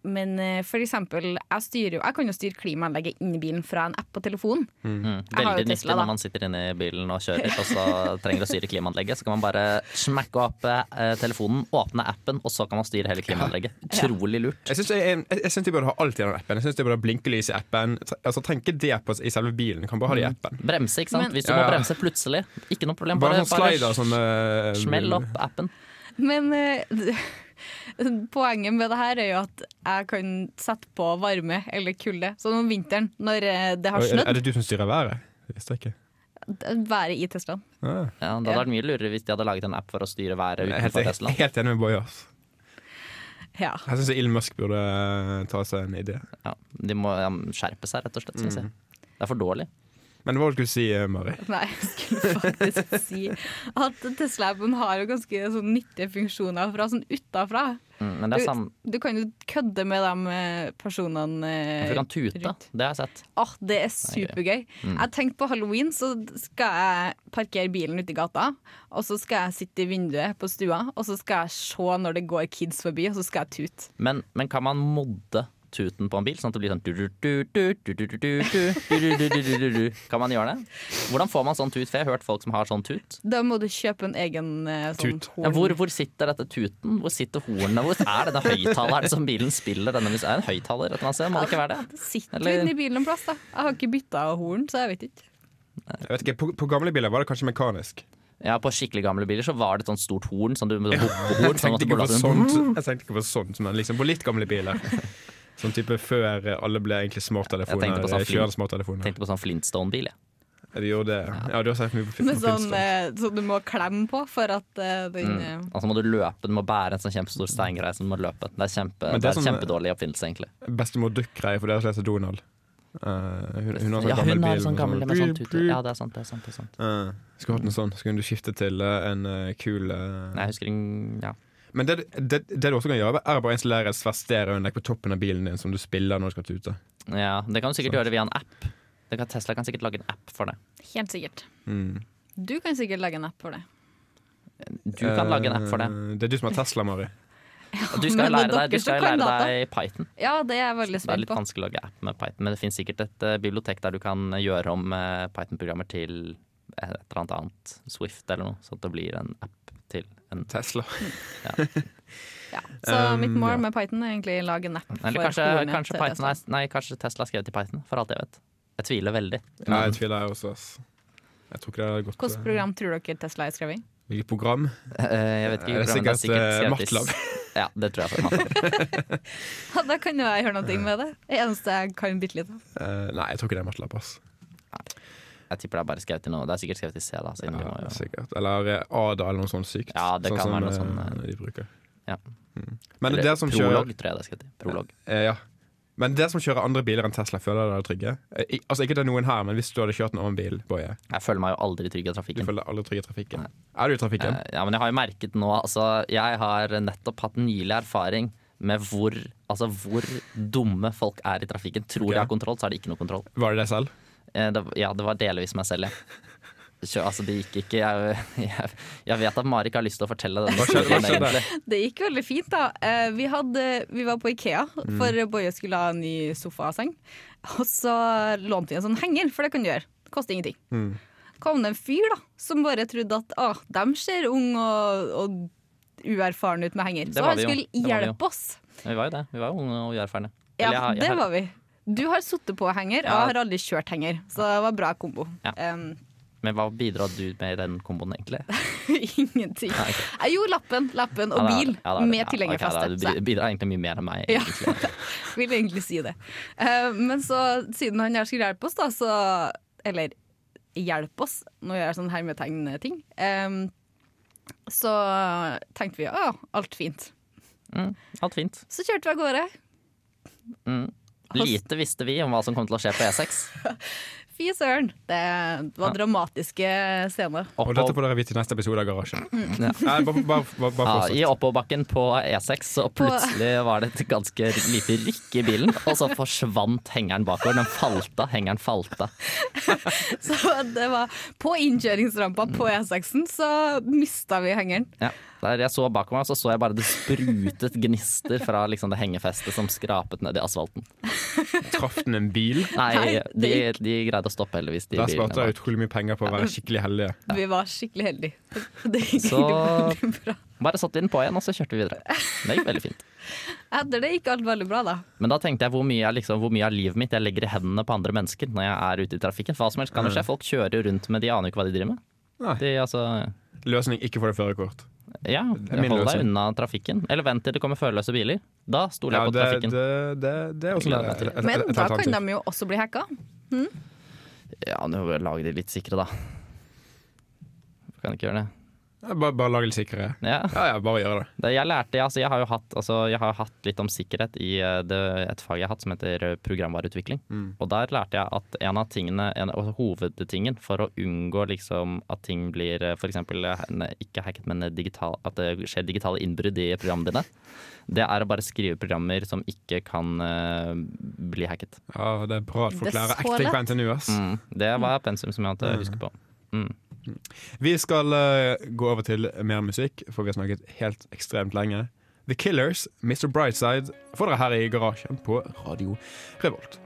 S2: men eh, for eksempel, jeg, styrer jo, jeg kan jo styre klimaanlegget inni bilen fra en app på telefonen.
S3: Mm.
S2: Jeg har jo
S3: Veldig nyttig
S2: Tesla, da.
S3: når man sitter inne i bilen og kjører, og så trenger å styre klimaanlegget. Så kan man bare smekke opp eh, telefonen, åpne appen, og så kan man styre hele klimaanlegget. Utrolig lurt.
S1: Jeg syns jeg, jeg, jeg synes de burde ha alt i den appen. Jeg synes de burde ha blinkelys i appen. Tre- Altså Trenger ikke det på, i selve bilen, kan bare ha det i
S3: Mm.
S1: appen.
S3: Bremse, ikke sant?
S2: Men-
S3: Hvis du
S1: Ja,
S3: må
S1: ja.
S3: bremse plutselig, ikke noe problem.
S1: Bare
S3: Bare,
S1: sånn
S3: bare
S1: slider som eh,
S3: smell opp appen.
S2: Men eh, poenget med det her er jo at jeg kan sette på varme eller kulde. Sånn om vinteren, når eh, det har
S1: Oi, er, er
S2: snødd.
S1: det du som styrer været? Jeg Visste ikke.
S2: Været i Teslaen.
S1: Ah.
S3: Ja, det hadde vært mye lurere hvis de hadde laget en app for å styre været
S1: Jeg er helt,
S3: utenfor Tesla.
S1: helt enig med Boy. ass.
S2: Ja.
S1: Jeg syns Elon Musk burde eh, ta seg en idé.
S3: Ja, de må ja, skjerpe seg, rett og slett, syns
S1: Mm.
S3: jeg. Det er for dårlig.
S1: Men hva var det du skulle si, eh, Mari?
S2: Nei, jeg skulle faktisk si at Tesla-appen har jo ganske sånn nyttige funksjoner fra sånn utafra.
S3: Mm, men det er samme
S2: Du kan jo kødde med de eh, personene eh,
S3: Du kan tute,
S2: rundt.
S3: det har jeg sett.
S2: Åh, det er supergøy.
S3: Mm.
S2: Jeg tenkte på halloween, så skal jeg parkere bilen ute i gata. Og så skal jeg sitte i vinduet på stua, og så skal jeg se når det går kids forbi, og så skal jeg tute.
S3: Men, men kan man modde tuten på en bil, sånn at det blir sånn du-du-du-du-du-du-du-du-du-du-du-du-du-du? Kan man gjøre det? Hvordan får man sånn tut? For jeg har hørt folk som har sånn tut.
S2: Da må du kjøpe en egen eh, sånn
S1: Tut.
S2: horn.
S3: Ja, hvor, hvor sitter dette tuten? Hvor sitter hornene? Hvor er denne høyttaleren som bilen spiller? Denne hvis det er en høyttaler, et eller annet sted? Må det ikke være det?
S2: Sitter
S3: Eller-
S2: inni bilen en plass, da. Jeg har ikke bytta horn, så jeg vet ikke.
S1: Jeg vet ikke, På, på gamle biler var det kanskje mekanisk.
S3: Ja, på skikkelig gamle biler så var det et sånt stort horn, sånn du med sånn
S1: Jeg
S3: hoppehorn. Sånn at
S1: tenkte
S3: du
S1: ikke
S3: bare
S1: på
S3: låter
S1: sånt,
S3: den-
S1: jeg tenkte ikke på sånt men liksom på litt gamle biler. Sånn type før eh, alle ble egentlig
S3: Jeg tenkte
S1: smarttelefoner.
S3: på sånn
S1: eh,
S3: flink-
S1: Kjørende smarttelefoner.
S3: Tenkte på sånn Flintstone-bil, jeg.
S1: Ja, De gjorde det. Ja, du har sett mye på film.
S2: Med sånn eh, som du må klemme på for at eh, den eh,
S3: Og så må du løpe, du må bære en sånn kjempestor steingreie som du må løpe. Det er, kjempe,
S1: Men
S3: det
S1: det
S3: er
S1: er sånn-
S3: kjempedårlig oppfinnelse, egentlig.
S1: Bestemor Duck-greie, for dere som leser Donald. Eh, hun, hun har sånn gammel
S3: Ja, hun har
S1: bil.
S3: en sånn
S1: med
S3: gammel med sånn tut.
S1: Brr,
S3: Ja, det er sant, det er sant. Det er sant.
S1: Eh, skulle hatt noe sånn, så kunne du skifte til eh, en eh, kul eh,
S3: Nei, jeg husker ingen ja.
S1: Men det, det, det du også kan gjøre, er bare å installere et svært stereoanlegg på toppen av bilen din som du spiller når du skal tute.
S3: ja, Det kan du
S2: Sånn.
S3: sikkert gjøre via en app. Det kan, Tesla kan sikkert lage en app for det.
S2: Helt sikkert.
S1: Mm.
S2: Du kan sikkert lage en app for det.
S3: Du kan lage en app for det.
S1: Eh, Det er du som har Tesla, Mari.
S3: Og du skal jo
S2: men
S3: lære deg,
S2: dere
S3: du skal jo
S2: som kan
S3: lære
S2: data.
S3: deg Python.
S2: Ja, det er jeg veldig
S3: Det er
S2: spent
S3: litt
S2: på.
S3: vanskelig å lage app med Python, men det finnes sikkert et eh, bibliotek der du kan gjøre om eh, Python-programmer til eh, et eller annet annet, Swift eller noe, så at det blir en app til en
S1: Tesla.
S2: Ja. Så
S1: Um,
S2: mitt mål
S1: ja.
S2: med Python er egentlig å lage en app.
S3: Eller
S2: for
S3: kanskje,
S2: hornet
S3: kanskje,
S2: til
S3: Python
S2: Tesla.
S3: er, nei, kanskje Tesla er skrevet i Python, for alt jeg vet. Jeg tviler veldig.
S1: Nei, jeg tviler jeg også. Ass. Jeg tror ikke det hadde gått
S2: Hvilket program tror dere Tesla er skrevet i?
S1: eh, Hvilket program?
S3: Eh, Jeg vet ikke,
S1: Det er sikkert,
S3: men
S1: eh,
S3: skrevet i-
S1: Matlab.
S3: Ja, det tror jeg. for Matlab.
S2: Ja, Da kan jo jeg gjøre noe med det. Det eneste jeg kan bitte litt av.
S1: Eh, nei, jeg tror ikke det er Matlab. Ass.
S3: Jeg tipper det er bare skrevet i noe. Det er sikkert skrevet i C, da. Siden vi må
S1: Ja,
S3: jo
S1: sikkert. Eller eh, Ada eller noe sånt sykt.
S3: Ja, det
S1: sånn
S3: kan
S1: som,
S3: være noe
S1: eh,
S3: sånn,
S1: de bruker.
S3: ja.
S1: Mm. Men
S3: Eller
S1: dere som
S3: prolog,
S1: kjører
S3: tror jeg det skal til. Prolog.
S1: eh, ja. Men dere som kjører andre biler enn Tesla, føler dere dere trygge? Eh, i- altså Ikke det er noen her, men hvis du hadde kjørt en annen bil, Boje,
S3: Jeg føler meg jo aldri trygg i
S1: du
S3: trafikken.
S1: føler deg aldri trygg i trafikken.
S3: Nei.
S1: Er du i trafikken?
S3: Eh, Ja, men jeg har jo merket nå, altså Jeg har nettopp hatt nylig erfaring med hvor, altså, hvor dumme folk er i trafikken. Tror
S1: Ok.
S3: de Eh. har kontroll, så har de ikke noe kontroll.
S1: Var det deg selv?
S3: Eh, Det, ja, det var delvis meg selv, ja. Kjør, altså, det gikk ikke jeg, jeg, jeg vet at Mari ikke har lyst til å fortelle denne
S1: Hva skjedde- hva
S3: historien,
S1: skjedde?
S3: egentlig.
S2: Det gikk veldig fint, da. Eh, Vi, hadde, vi var på Ikea,
S3: Mm.
S2: for Boje skulle ha en ny sofaseng. Og så lånte vi en sånn henger, for det kan du gjøre. Det koster ingenting.
S1: Mm.
S2: kom det en fyr da, som bare trodde at ah, de ser unge og, og uerfarne ut med henger.
S3: Det
S2: Så
S3: var
S2: han
S3: vi jo.
S2: skulle
S3: Det var vi jo.
S2: hjelpe oss.
S3: Men Vi var jo det. Vi var jo unge og uerfarne.
S2: Ja,
S3: Eller jeg har- jeg
S2: det
S3: har-
S2: var vi. Du har sittet på henger, og
S3: Ja.
S2: jeg har aldri kjørt henger. Så det var bra kombo.
S3: Ja.
S2: Em,
S3: Men hva bidro du med i den komboen, egentlig?
S2: ingenting.
S3: Nei, ok.
S2: Jeg gjorde lappen, lappen og
S3: Ja, da-
S2: bil
S3: ja, da-
S2: med
S3: ja,
S2: tilhengerfeste.
S3: ok,
S2: så
S3: da, du bidrar egentlig mye mer enn meg.
S2: Ja.
S3: egentlig.
S2: jeg vil egentlig si det. Eh, men så, siden han her skulle hjelpe oss, da, så Eller hjelpe oss, nå gjør jeg sånn hermetegn-ting. em, så tenkte vi ja, alt fint.
S3: Mm, alt fint.
S2: Så kjørte vi av gårde.
S3: Mm. Lite visste vi om hva som kom til å skje på E E6.
S2: Fy søren. Det var dramatiske scener.
S1: Og dette får dere vite i neste episode av Garasjen.
S3: Ja.
S1: Nei, bare, bare, bare, bare
S3: Mm, Ja, I
S1: fortsett.
S3: oppoverbakken på E6 så plutselig var det et ganske lite rykk i bilen, og så forsvant hengeren bakover. Den falt av. Hengeren falt av.
S2: Så det var På innkjøringsrampa på
S3: Mm.
S2: E6-en så mista vi hengeren.
S3: Ja. Der jeg så bakover, så så jeg bare det sprutet gnister fra liksom det hengefestet som skrapet ned i asfalten.
S1: Traff den en bil?
S3: Nei,
S2: Nei,
S3: de,
S2: det
S3: de greide å stoppe heldigvis, de
S1: Der sparte
S3: bilene.
S1: jeg utrolig mye penger på å være skikkelig heldige.
S2: Vi var skikkelig heldige. Det gikk
S3: Så-
S2: veldig bra.
S3: Bare satte vi den på igjen, og så kjørte vi videre. Det gikk veldig fint.
S2: Etter det gikk alt veldig bra, da.
S3: Men da tenkte jeg hvor mye, jeg liksom, hvor mye av livet mitt jeg legger i hendene på andre mennesker når jeg er ute i trafikken. For Hva som helst kan jo skje. Folk kjører jo rundt med de aner jo ikke hva de driver med.
S1: Nei.
S3: De, altså,
S1: Løsning ikke få det førerkort.
S3: ja,
S1: er min
S3: Hold deg
S1: løsning.
S3: unna trafikken. Eller vent til det kommer førerløse biler. Da stoler
S1: Ja,
S3: jeg på
S1: det,
S3: trafikken.
S1: det, det, det er også
S3: Jeg gleder meg til det.
S1: et- et-
S2: Men
S1: et
S2: da kan
S1: alternativ.
S2: de jo også bli hacka.
S3: Ja, nå lager de litt sikre, da. Kan ikke gjøre det.
S1: Ja, Bare, bare lag det sikre.
S3: Ja.
S1: Ja ja, bare gjør det.
S3: Det jeg lærte, ja, altså, jeg har jo hatt, altså, jeg har hatt litt om sikkerhet i eh, det, et fag jeg har hatt som heter eh, programvareutvikling. Og der lærte jeg at en av tingene, en av hovedtingen for å unngå liksom, at ting blir eh, for eksempel eh, ne- ikke hacket, men eh, digital, at det skjer digitale innbrudd i programmene dine, det er å bare skrive programmer som ikke kan eh, bli hacket.
S1: Ja, det er bra at folk
S2: Det er
S1: lærer
S2: så
S1: acting på
S2: lett.
S1: NTNU, ass.
S3: Mm. Det var pensum som jeg måtte huske på.
S1: Vi skal eh, gå over til mer musikk, for vi har snakket helt ekstremt lenge. The Killers, Mr. Brightside, får dere her i garasjen på Radio Revolt.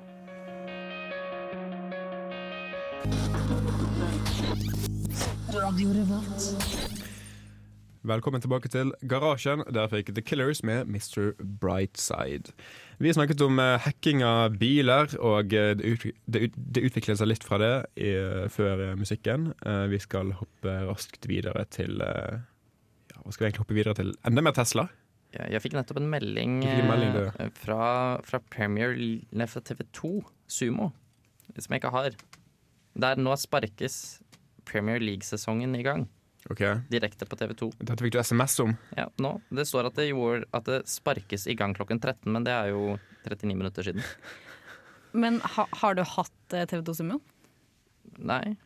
S1: Velkommen tilbake til Garasjen. Der fikk The Killers med Mr. Brightside. Vi har snakket om eh, hacking av biler, og eh, det, ut, det, ut, det utviklet seg litt fra det i, før eh, musikken. Eh, vi skal hoppe raskt videre til eh, ja, Hva skal vi egentlig hoppe videre til? Enda mer Tesla.
S3: Jeg, jeg fikk nettopp en melding,
S1: Du fikk en melding, du,
S3: eh, fra, fra Premier L- nei, fra TV2, Sumo, som jeg ikke har. Der nå sparkes Premier League-sesongen i gang,
S1: Ok,
S3: direkte på TV2.
S1: Dette fikk du SMS om.
S3: Ja, nå. Det står at det, gjorde, at det sparkes i gang klokken 13, men det er jo 39 minutter siden.
S2: Men ha, har du hatt eh, TV2 Sumo?
S3: Nei.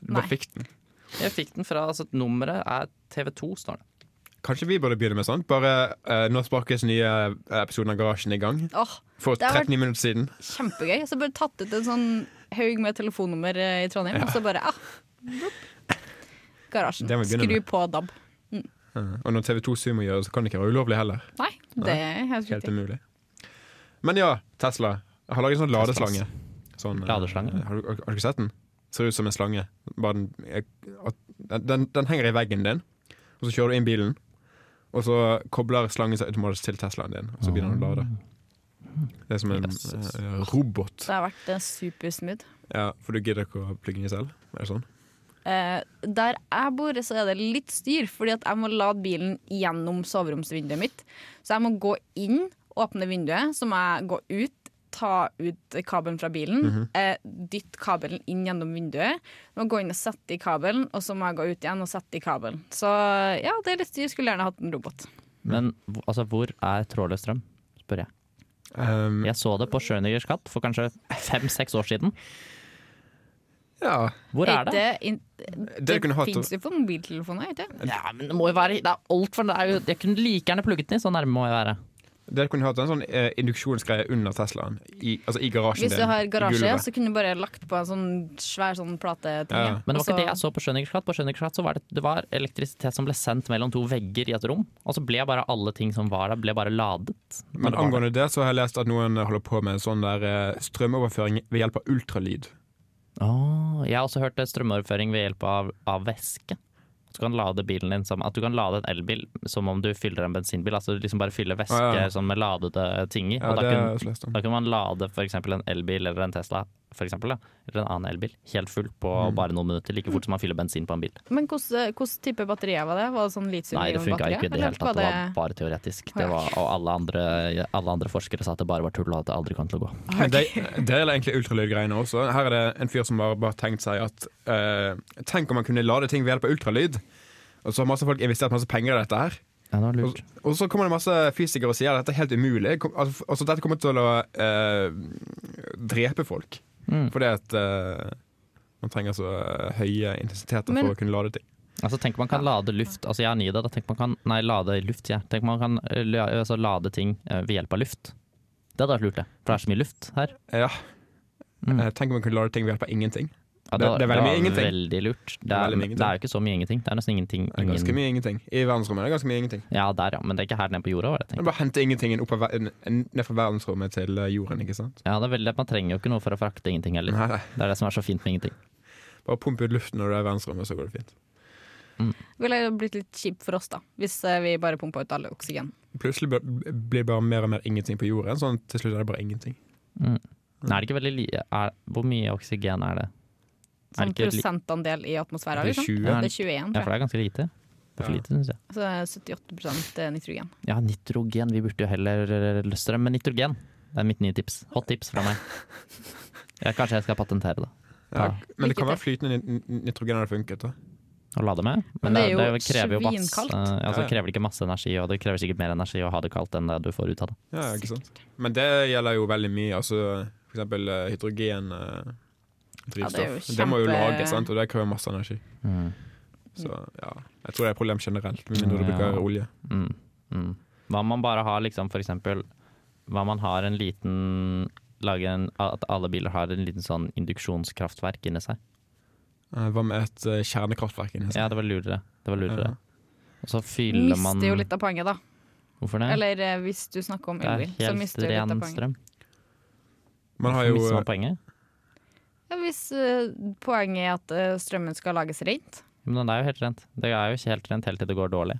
S1: Du bare
S2: Nei.
S1: fikk den.
S3: Jeg fikk den fra altså, Nummeret er TV2, står det.
S1: Kanskje vi burde begynne med sånt? Bare eh, Nå sparkes nye eh, episoden av Garasjen i gang.
S2: Åh,
S1: For
S2: Det har vært-
S1: 39 minutter siden.
S2: kjempegøy. Så bare tatt ut en sånn haug med telefonnummer eh, i Trondheim, og så bare ah, blopp. Garasjen.
S1: Det må vi begynne
S2: Skru
S1: med.
S2: på DAB.
S1: Ja, Og når TV2 Sumo gjør det, så kan det ikke være ulovlig heller.
S2: Nei, det er
S1: Helt
S2: helt riktig.
S1: umulig. Men ja, Tesla. Jeg har laget en sånn ladeslange. Sånn, eh,
S3: Ladeslange?
S1: Har du, har du ikke sett den? Ser ut som en slange. Bare den, jeg- at- den, den henger i veggen din, og så kjører du inn bilen. Og så kobler slangen seg automatisk til Teslaen din, og så begynner den å lade.
S2: Ah.
S1: Det er som en
S3: Jesus.
S1: eh, robot.
S2: Det har vært eh, supersmooth.
S1: Ja, For du gidder ikke å plugge den i selv? Er det sånn?
S2: Eh, der jeg bor, så er det litt styr, fordi at jeg må lade bilen gjennom soveromsvinduet mitt. Så jeg må gå inn, åpne vinduet, så må jeg gå ut, ta ut kabelen fra bilen,
S1: Mhm.
S2: eh, dytte kabelen inn gjennom vinduet. Må gå inn og sette i kabelen, og så må jeg gå ut igjen og sette i kabelen. Så ja, det er litt styr. Skulle gjerne hatt en robot.
S3: Men hv- altså, hvor er trådløs strøm? Spør jeg.
S1: Ehm,
S3: Jeg så det på Schønigers katt for kanskje fem-seks år siden.
S1: ja.
S3: Hvor er det?
S2: in-
S1: Det
S2: det
S1: Eh, kunne hatt-
S2: fins jo på mobiltelefoner, ikke det?
S3: Ja, men det må jo være Det er altfor Jeg kunne like gjerne plugget den i, så nærme må jeg være.
S1: Dere kunne hatt en sånn eh, induksjonsgreie under Teslaen. I, altså i garasjen
S2: Hvis du har
S1: i
S2: garasje,
S1: gulvet.
S2: så kunne du bare lagt på en sånn svær sånn plateting.
S1: Ja, ja.
S3: Men det var
S2: Og så-
S3: ikke det jeg så på Skjønningsklatt. På Skjønningsklatt så var det, det var elektrisitet som ble sendt mellom to vegger i et rom, og så ble bare alle ting som var der, ble bare ladet.
S1: Men angående det så har jeg lest at noen holder på med sånn der eh, strømoverføring ved hjelp av ultralyd.
S3: Åh, Ah. jeg har også hørt strømoverføring ved hjelp av, av væske. Så du kan lade bilen din som, at du kan lade en elbil som om du fyller en bensinbil. Altså du liksom bare fyller væske
S1: Ah, ja.
S3: sånn med ladede ting i.
S1: Ja,
S3: og da
S1: det har jeg
S3: kunne-
S1: også lest om.
S3: da kan man lade f.eks. en elbil eller en Tesla for eksempel, da, eller en annen elbil helt full på
S1: Mm.
S3: bare noen minutter. Like fort som man fyller bensin på en bil.
S2: Men hvordan eh, hvordan type batterier var det? Var det sånn litium
S3: Nei, det funka ikke i det hele tatt. Det var bare teoretisk. Det
S2: Å, ja.
S3: var, og alle andre, alle andre forskere sa at det bare var tull, og at det aldri kom til å gå.
S1: Men det, det gjelder egentlig ultralydgreiene også. Her er det en fyr som har bare tenkt seg at eh, Tenk om man kunne lade ting ved hjelp av ultralyd. Og så har masse folk investert masse penger i dette her.
S3: Ja, det var
S1: Og,
S3: lurt.
S1: og så kommer det masse fysikere og sier at dette er helt umulig. Kom, altså, altså dette kommer til å eh, drepe folk.
S3: Mm.
S1: Fordi at eh, man trenger så eh, høye intensiteter
S2: Men-
S1: for å kunne lade ting.
S3: Altså, tenk man kan lade luft Altså, jeg er ny i det. Da. Tenk man kan Nei, lade luft, sier jeg. Tenk man kan eh, la- altså, lade ting eh, ved hjelp av luft. Det hadde vært lurt, det. For det er så mye luft her.
S1: Ja.
S3: Mm.
S1: Eh, tenk om man kunne lade ting ved hjelp av ingenting.
S3: Ja,
S1: Det- det er veldig mye
S3: var
S1: ingenting.
S3: veldig lurt.
S1: er
S3: Det er,
S1: veldig mye
S3: det er jo ikke så mye ingenting. Det er nesten ingenting.
S1: Det er ganske
S3: ingen-
S1: mye ingenting. I verdensrommet er det ganske mye ingenting.
S3: Ja, der, ja. Men det er ikke her nede på jorda, var det jeg
S1: Man
S3: tenkte.
S1: bare henter ingentingen opp av ver n- ned fra verdensrommet til eh, jorden, ikke sant?
S3: Ja, det er veldig, man trenger jo ikke noe for å frakte ingenting heller.
S1: Nei, nei.
S3: Det er det som er så fint med ingenting.
S1: Bare pump ut luften når du er i verdensrommet, så går det fint.
S2: Det ville jo blitt litt kjipt for oss, da, hvis eh, vi bare pumpa ut all oksygen.
S1: Plutselig bl- blir bare mer og mer ingenting på jorden, sånn til slutt er det bare ingenting.
S3: Nei, er det ikke veldig li er, Hvor mye oksygen er det? Er
S2: Sånn
S3: det ikke li
S2: prosentandel i atmosfæra,
S1: Det er
S2: liksom.
S1: 20.
S2: Ja, det er 21,
S3: ja,
S2: tror jeg.
S3: for det er ganske lite. Det er for
S1: Ja.
S3: lite, syns jeg.
S2: Så eh, det er 78 eh, nitrogen.
S3: Ja, nitrogen. Vi burde jo heller løstre, men nitrogen. Det er mitt nye tips. Hot tips fra meg. Ja, kanskje jeg skal patentere det.
S1: Ja,
S3: Ja.
S1: men det kan
S2: Lykke
S1: være flytende nit- nit- nitrogen hadde funket, da.
S3: Og lade med.
S2: Men det er jo
S3: masse
S2: svinkaldt.
S3: eh, altså,
S1: Ja, ja.
S3: krever det ikke masse energi, og det krever sikkert mer energi å ha det kaldt enn det du får ut av det.
S1: Ja, ikke sant? Men det gjelder jo veldig mye. Altså, for eksempel eh, hydrogen eh,
S2: Ja, det er jo
S1: drivstoff. det, må jo
S2: kjempe-
S1: lages, sant? og det krever masse energi.
S3: Mm.
S1: Så ja, jeg tror det er et problem generelt, med mindre du bruker
S3: Ja.
S1: olje.
S3: Mm. Mm. Hva om man bare har liksom for eksempel Hva om man har en liten lage en, At alle biler har en liten sånn induksjonskraftverk inni seg.
S1: Eh, Hva med et eh, kjernekraftverk inni
S3: Ja, det var lurere. Det var lurere.
S1: Ja.
S3: Og så fyller man
S2: Mister jo litt av poenget, da.
S3: Hvorfor det?
S2: Eller eh, hvis du snakker om
S3: det er
S2: elbil, så
S3: helt
S2: mister du litt av
S3: ren
S2: poenget.
S3: strøm.
S1: Man har
S3: Hvorfor
S1: jo
S3: mister man poenget?
S2: Ja, hvis eh, poenget er at eh, strømmen skal lages rent.
S3: Men det er jo helt rent. Det er jo ikke helt rent helt til det går dårlig.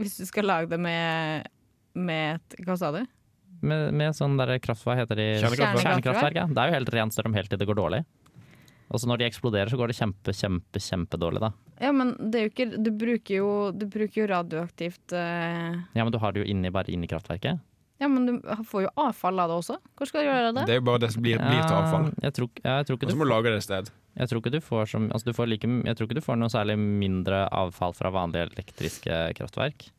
S2: Hvis du skal lage det med, med et Hva sa du?
S3: Med, med sånn der kraft, hva heter de?
S1: Kjernekraftverk.
S3: Kjernekraftverk, ja. Det er jo helt ren strøm helt til det går dårlig. Og så når de eksploderer, så går det kjempe, kjempe, kjempedårlig, da.
S2: Ja, men det er jo ikke Du bruker jo, du bruker jo radioaktivt eh,
S3: Ja, men du har det jo inni, bare inni kraftverket.
S2: Ja, men du får jo avfall av det også. Hvor skal du gjøre av det?
S1: Det er jo bare det som blir, blir til avfall.
S3: Ja, Jeg tror, ja, jeg tror,
S1: Og
S3: ikke,
S1: så
S3: du,
S1: må du lage det et sted.
S3: jeg tror ikke du får som altså du får like, Jeg tror ikke du får noe særlig mindre avfall fra vanlige elektriske kraftverk.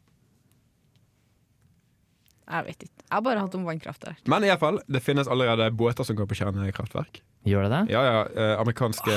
S2: Jeg vet ikke. Jeg har bare hatt om vannkraft der.
S1: Men i alle fall, det finnes allerede båter som går på kjernekraftverk.
S3: Gjør det det?
S1: Ja, ja, eh, Amerikanske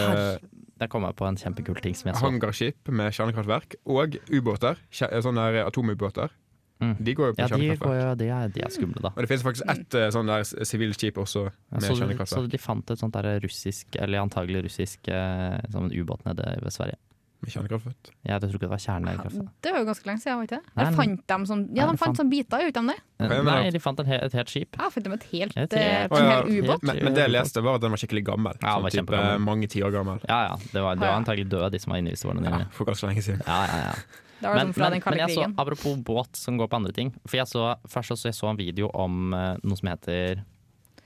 S3: Der kom jeg på en kjempekul ting som jeg så.
S1: hangarskip med kjernekraftverk. Og ubåter. kje- eh, Sånne der atomubåter.
S3: Mm.
S1: De går jo på
S3: Ja, de, går
S1: kjernekraftverk.
S3: jo, de, er, de er skumle, da.
S1: Og det finnes faktisk ett eh, sånn der s- sivilt skip også
S3: Ja,
S1: med
S3: så, du- så
S1: kjernekraftverk.
S3: de fant et sånt der russisk, eller antagelig russisk, eh, sånn ubåt nede ved Sverige.
S1: Med kjernekraftverk.
S3: Jeg tror ikke det var kjernekraft.
S2: Det var jo ganske lenge siden, var ikke det?
S3: Nei,
S2: Eller
S3: men-
S2: fant de sånn Ja, de
S3: Nei,
S2: fant
S3: faen.
S2: sånn biter, gjorde de det?
S1: jeg mener
S3: Eh, Nei,
S1: at-
S3: de fant en he et helt skip.
S2: Jeg har funnet et helt,
S3: Et
S2: eh, en
S3: helt-
S1: Å, ja.
S2: hel ubåt.
S1: Men, men det jeg leste, var at den var skikkelig gammel.
S3: Ja, den
S1: sånn
S3: var
S1: type
S3: kjempegammel.
S1: mange tiår gammel.
S3: Ja, ja, det var, det
S2: Ja,
S3: var
S2: ja.
S3: antagelig døde, de som var inne i visvarene
S1: Ja,
S3: dine.
S1: for ganske lenge siden.
S3: Ja, ja, ja.
S2: Det var
S3: Men,
S2: sånn fra
S3: men,
S2: den kalde
S3: men jeg så,
S2: krigen.
S3: apropos båt som går på andre ting For jeg så, Først så jeg så en video om eh, noe som heter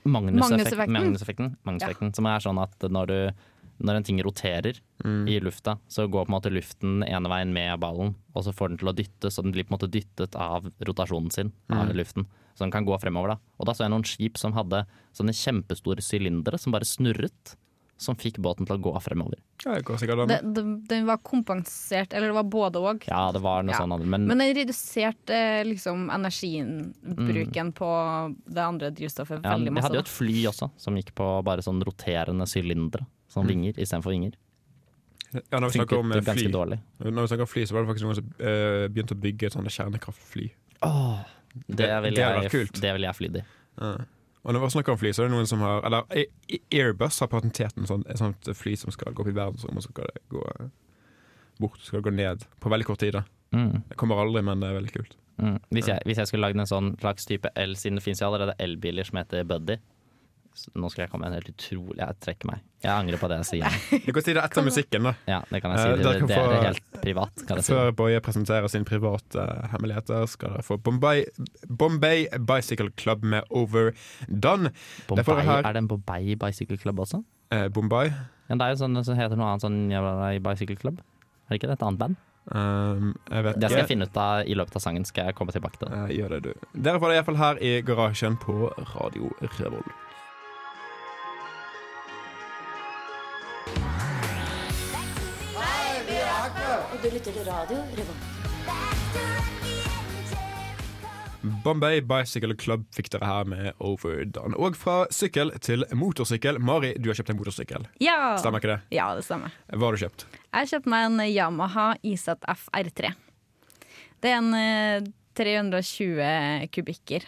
S2: Magnuseffekten.
S3: Magnuseffekten. Magnuseffekten, Magnuseffekten Som er sånn at når, du, når en ting roterer i lufta, så går på en måte luften ene veien med ballen, og så får den til å dyttes, og den blir på en måte dyttet av rotasjonen sin av luften. Så den kan gå fremover. da Og da så jeg noen skip som hadde sånne kjempestore sylindere som bare snurret, som fikk båten til å gå fremover.
S1: Ja, det går sikkert an.
S2: Det, det, den var kompensert, eller det var både òg.
S3: Ja, det var noe
S2: Ja.
S3: sånn, men,
S2: Men den reduserte eh, liksom energibruken på det andre drivstoffet
S3: Mm. Ja,
S2: veldig
S3: de
S2: masse.
S3: hadde jo
S2: da.
S3: et fly også, som gikk på bare sånn roterende sylindere. Sånn vinger istedenfor vinger.
S1: Ja, når Mm. vi snakker
S3: Funket
S1: om eh, fly,
S3: ganske dårlig.
S1: Når vi snakker om fly, så var det faktisk noen som eh, begynte å bygge et sånt kjernekraftfly.
S3: Åh, det,
S1: Det-
S3: vil
S1: det hadde vært
S3: jeg,
S1: kult.
S3: det vil jeg flydd i.
S1: Ja. Og når vi snakker om fly, så er det noen som har Eller A- A- Airbus har patentert en sånn, et sånt fly som skal gå opp i verdensrommet, og så skal det gå eh, bort, skal det gå ned på veldig kort tid. da
S3: Mm.
S1: Det kommer aldri, men det er veldig kult.
S3: Mm. Hvis, jeg, hvis jeg skulle lagd en sånn slags type el, siden det finnes jo allerede elbiler som heter Buddy Så Nå skulle jeg komme med en helt utrolig Jeg trekker meg. Jeg angrer på det jeg sier.
S1: Vi kan si det etter musikken, da.
S3: Ja, det kan jeg
S1: Eh,
S3: si.
S1: dere
S3: Det,
S1: kan
S3: det er
S1: få-
S3: helt privat. Kan jeg si.
S1: Før Boje presenterer sine private eh, hemmeligheter, skal dere få Bombay, Bombay Bicycle Club med Overdone. Derfor
S3: Bombay,
S1: har-
S3: er det en Bombay Bicycle Club også?
S1: Eh, Bombay.
S3: Ja, det er jo sånn som heter noe annet sånn jævla i Bicycle Club. Er det ikke det? Et annet band?
S1: Um, jeg vet
S3: Det skal jeg
S1: ikke.
S3: finne ut av i løpet av sangen. Skal jeg komme tilbake til det.
S1: Eh, gjør det, du. Dere får det iallfall her i garasjen på Radio Revolt.
S6: Og du lytter til radio Revolt.
S1: Bombay Bicycle Club fikk dere her med Overdone. Og fra sykkel til motorsykkel. Mari, du har kjøpt en motorsykkel.
S2: Ja.
S1: Stemmer ikke det?
S2: ja, det stemmer.
S1: Hva har du kjøpt?
S2: Jeg kjøpte meg en Yamaha IZF R3. Det er en eh, 320 kubikker.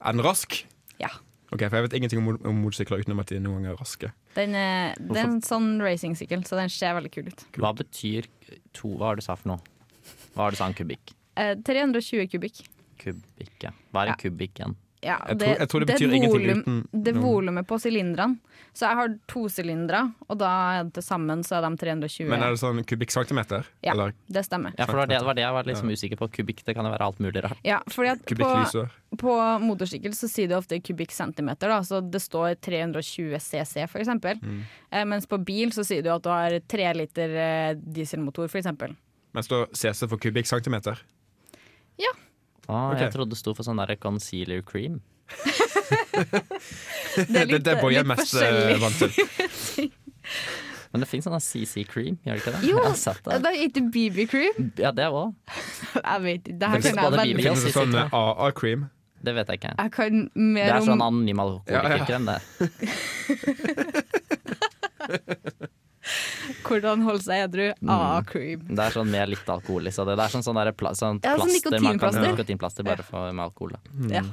S1: Er den rask?
S2: Ja.
S1: Ok, For jeg vet ingenting om mo- om motorsykler utenom at de noen ganger er raske.
S2: Den, eh, det er en sånn racingsykkel, så den ser veldig kul ut.
S3: Hva betyr to Hva var det du sa for noe? Hva var det du sa en kubikk?
S2: Eh, 320 kubikk.
S3: Kubikk, ja. Hva er en
S2: Ja.
S3: kubikk igjen?
S2: Ja,
S1: Jeg tror- jeg tror det betyr
S2: er
S1: ingenting
S2: volum-
S1: uten
S2: Det er
S1: noen-
S2: volumet på sylinderne. Så jeg har to sylindere, og da er det til sammen så er de 320.
S1: Men er det sånn kubikkcentimeter?
S2: Ja.
S1: Eller
S2: det stemmer.
S3: Ja, for det var det, det var det jeg var liksom usikker på. Kubikk, det kan jo være alt mulig rart.
S2: Ja, fordi at på,
S1: kubikklysår?
S2: på motorsykkel så sier det ofte kubikkcentimeter, da, så det står 320 cc for eksempel.
S1: Mm.
S2: Eh, mens på bil så sier du at du har tre liter eh, dieselmotor for eksempel.
S1: Men står CC for kubikkcentimeter?
S3: Ah,
S1: Ok.
S3: Jeg trodde det sto for sånn der concealer cream.
S1: Det er det Boje er mest eh,
S2: forskjellig.
S1: vant til.
S3: Men det fins sånn CC cream, gjør det ikke det?
S2: Jo,
S3: Jeg har sett det.
S2: Det heter BB Cream.
S3: Ja, det òg.
S2: Jeg vet ikke, det
S3: Men
S2: her
S3: det
S2: kan jeg
S3: både
S2: veldig
S3: BB
S1: Finnes det
S3: sitter
S1: sånn
S3: med.
S1: eh, AA-cream?
S3: Det vet jeg ikke.
S2: Jeg kan
S3: Det
S2: mer
S3: er
S2: om
S3: sånn anonym
S1: Ja,
S3: alkoholikerkrem, det.
S2: hvordan holde seg edru.
S1: Mm.
S2: AA cream.
S3: Det er sånn med litt alkohol i. Så det, det er sånn, sånn der pla, sånn
S2: Ja, sånn
S3: plaster man kan-
S2: nikotinplaster.
S3: Nikotinplaster bare for, med alkohol. Da.
S1: Mm.
S2: Ja.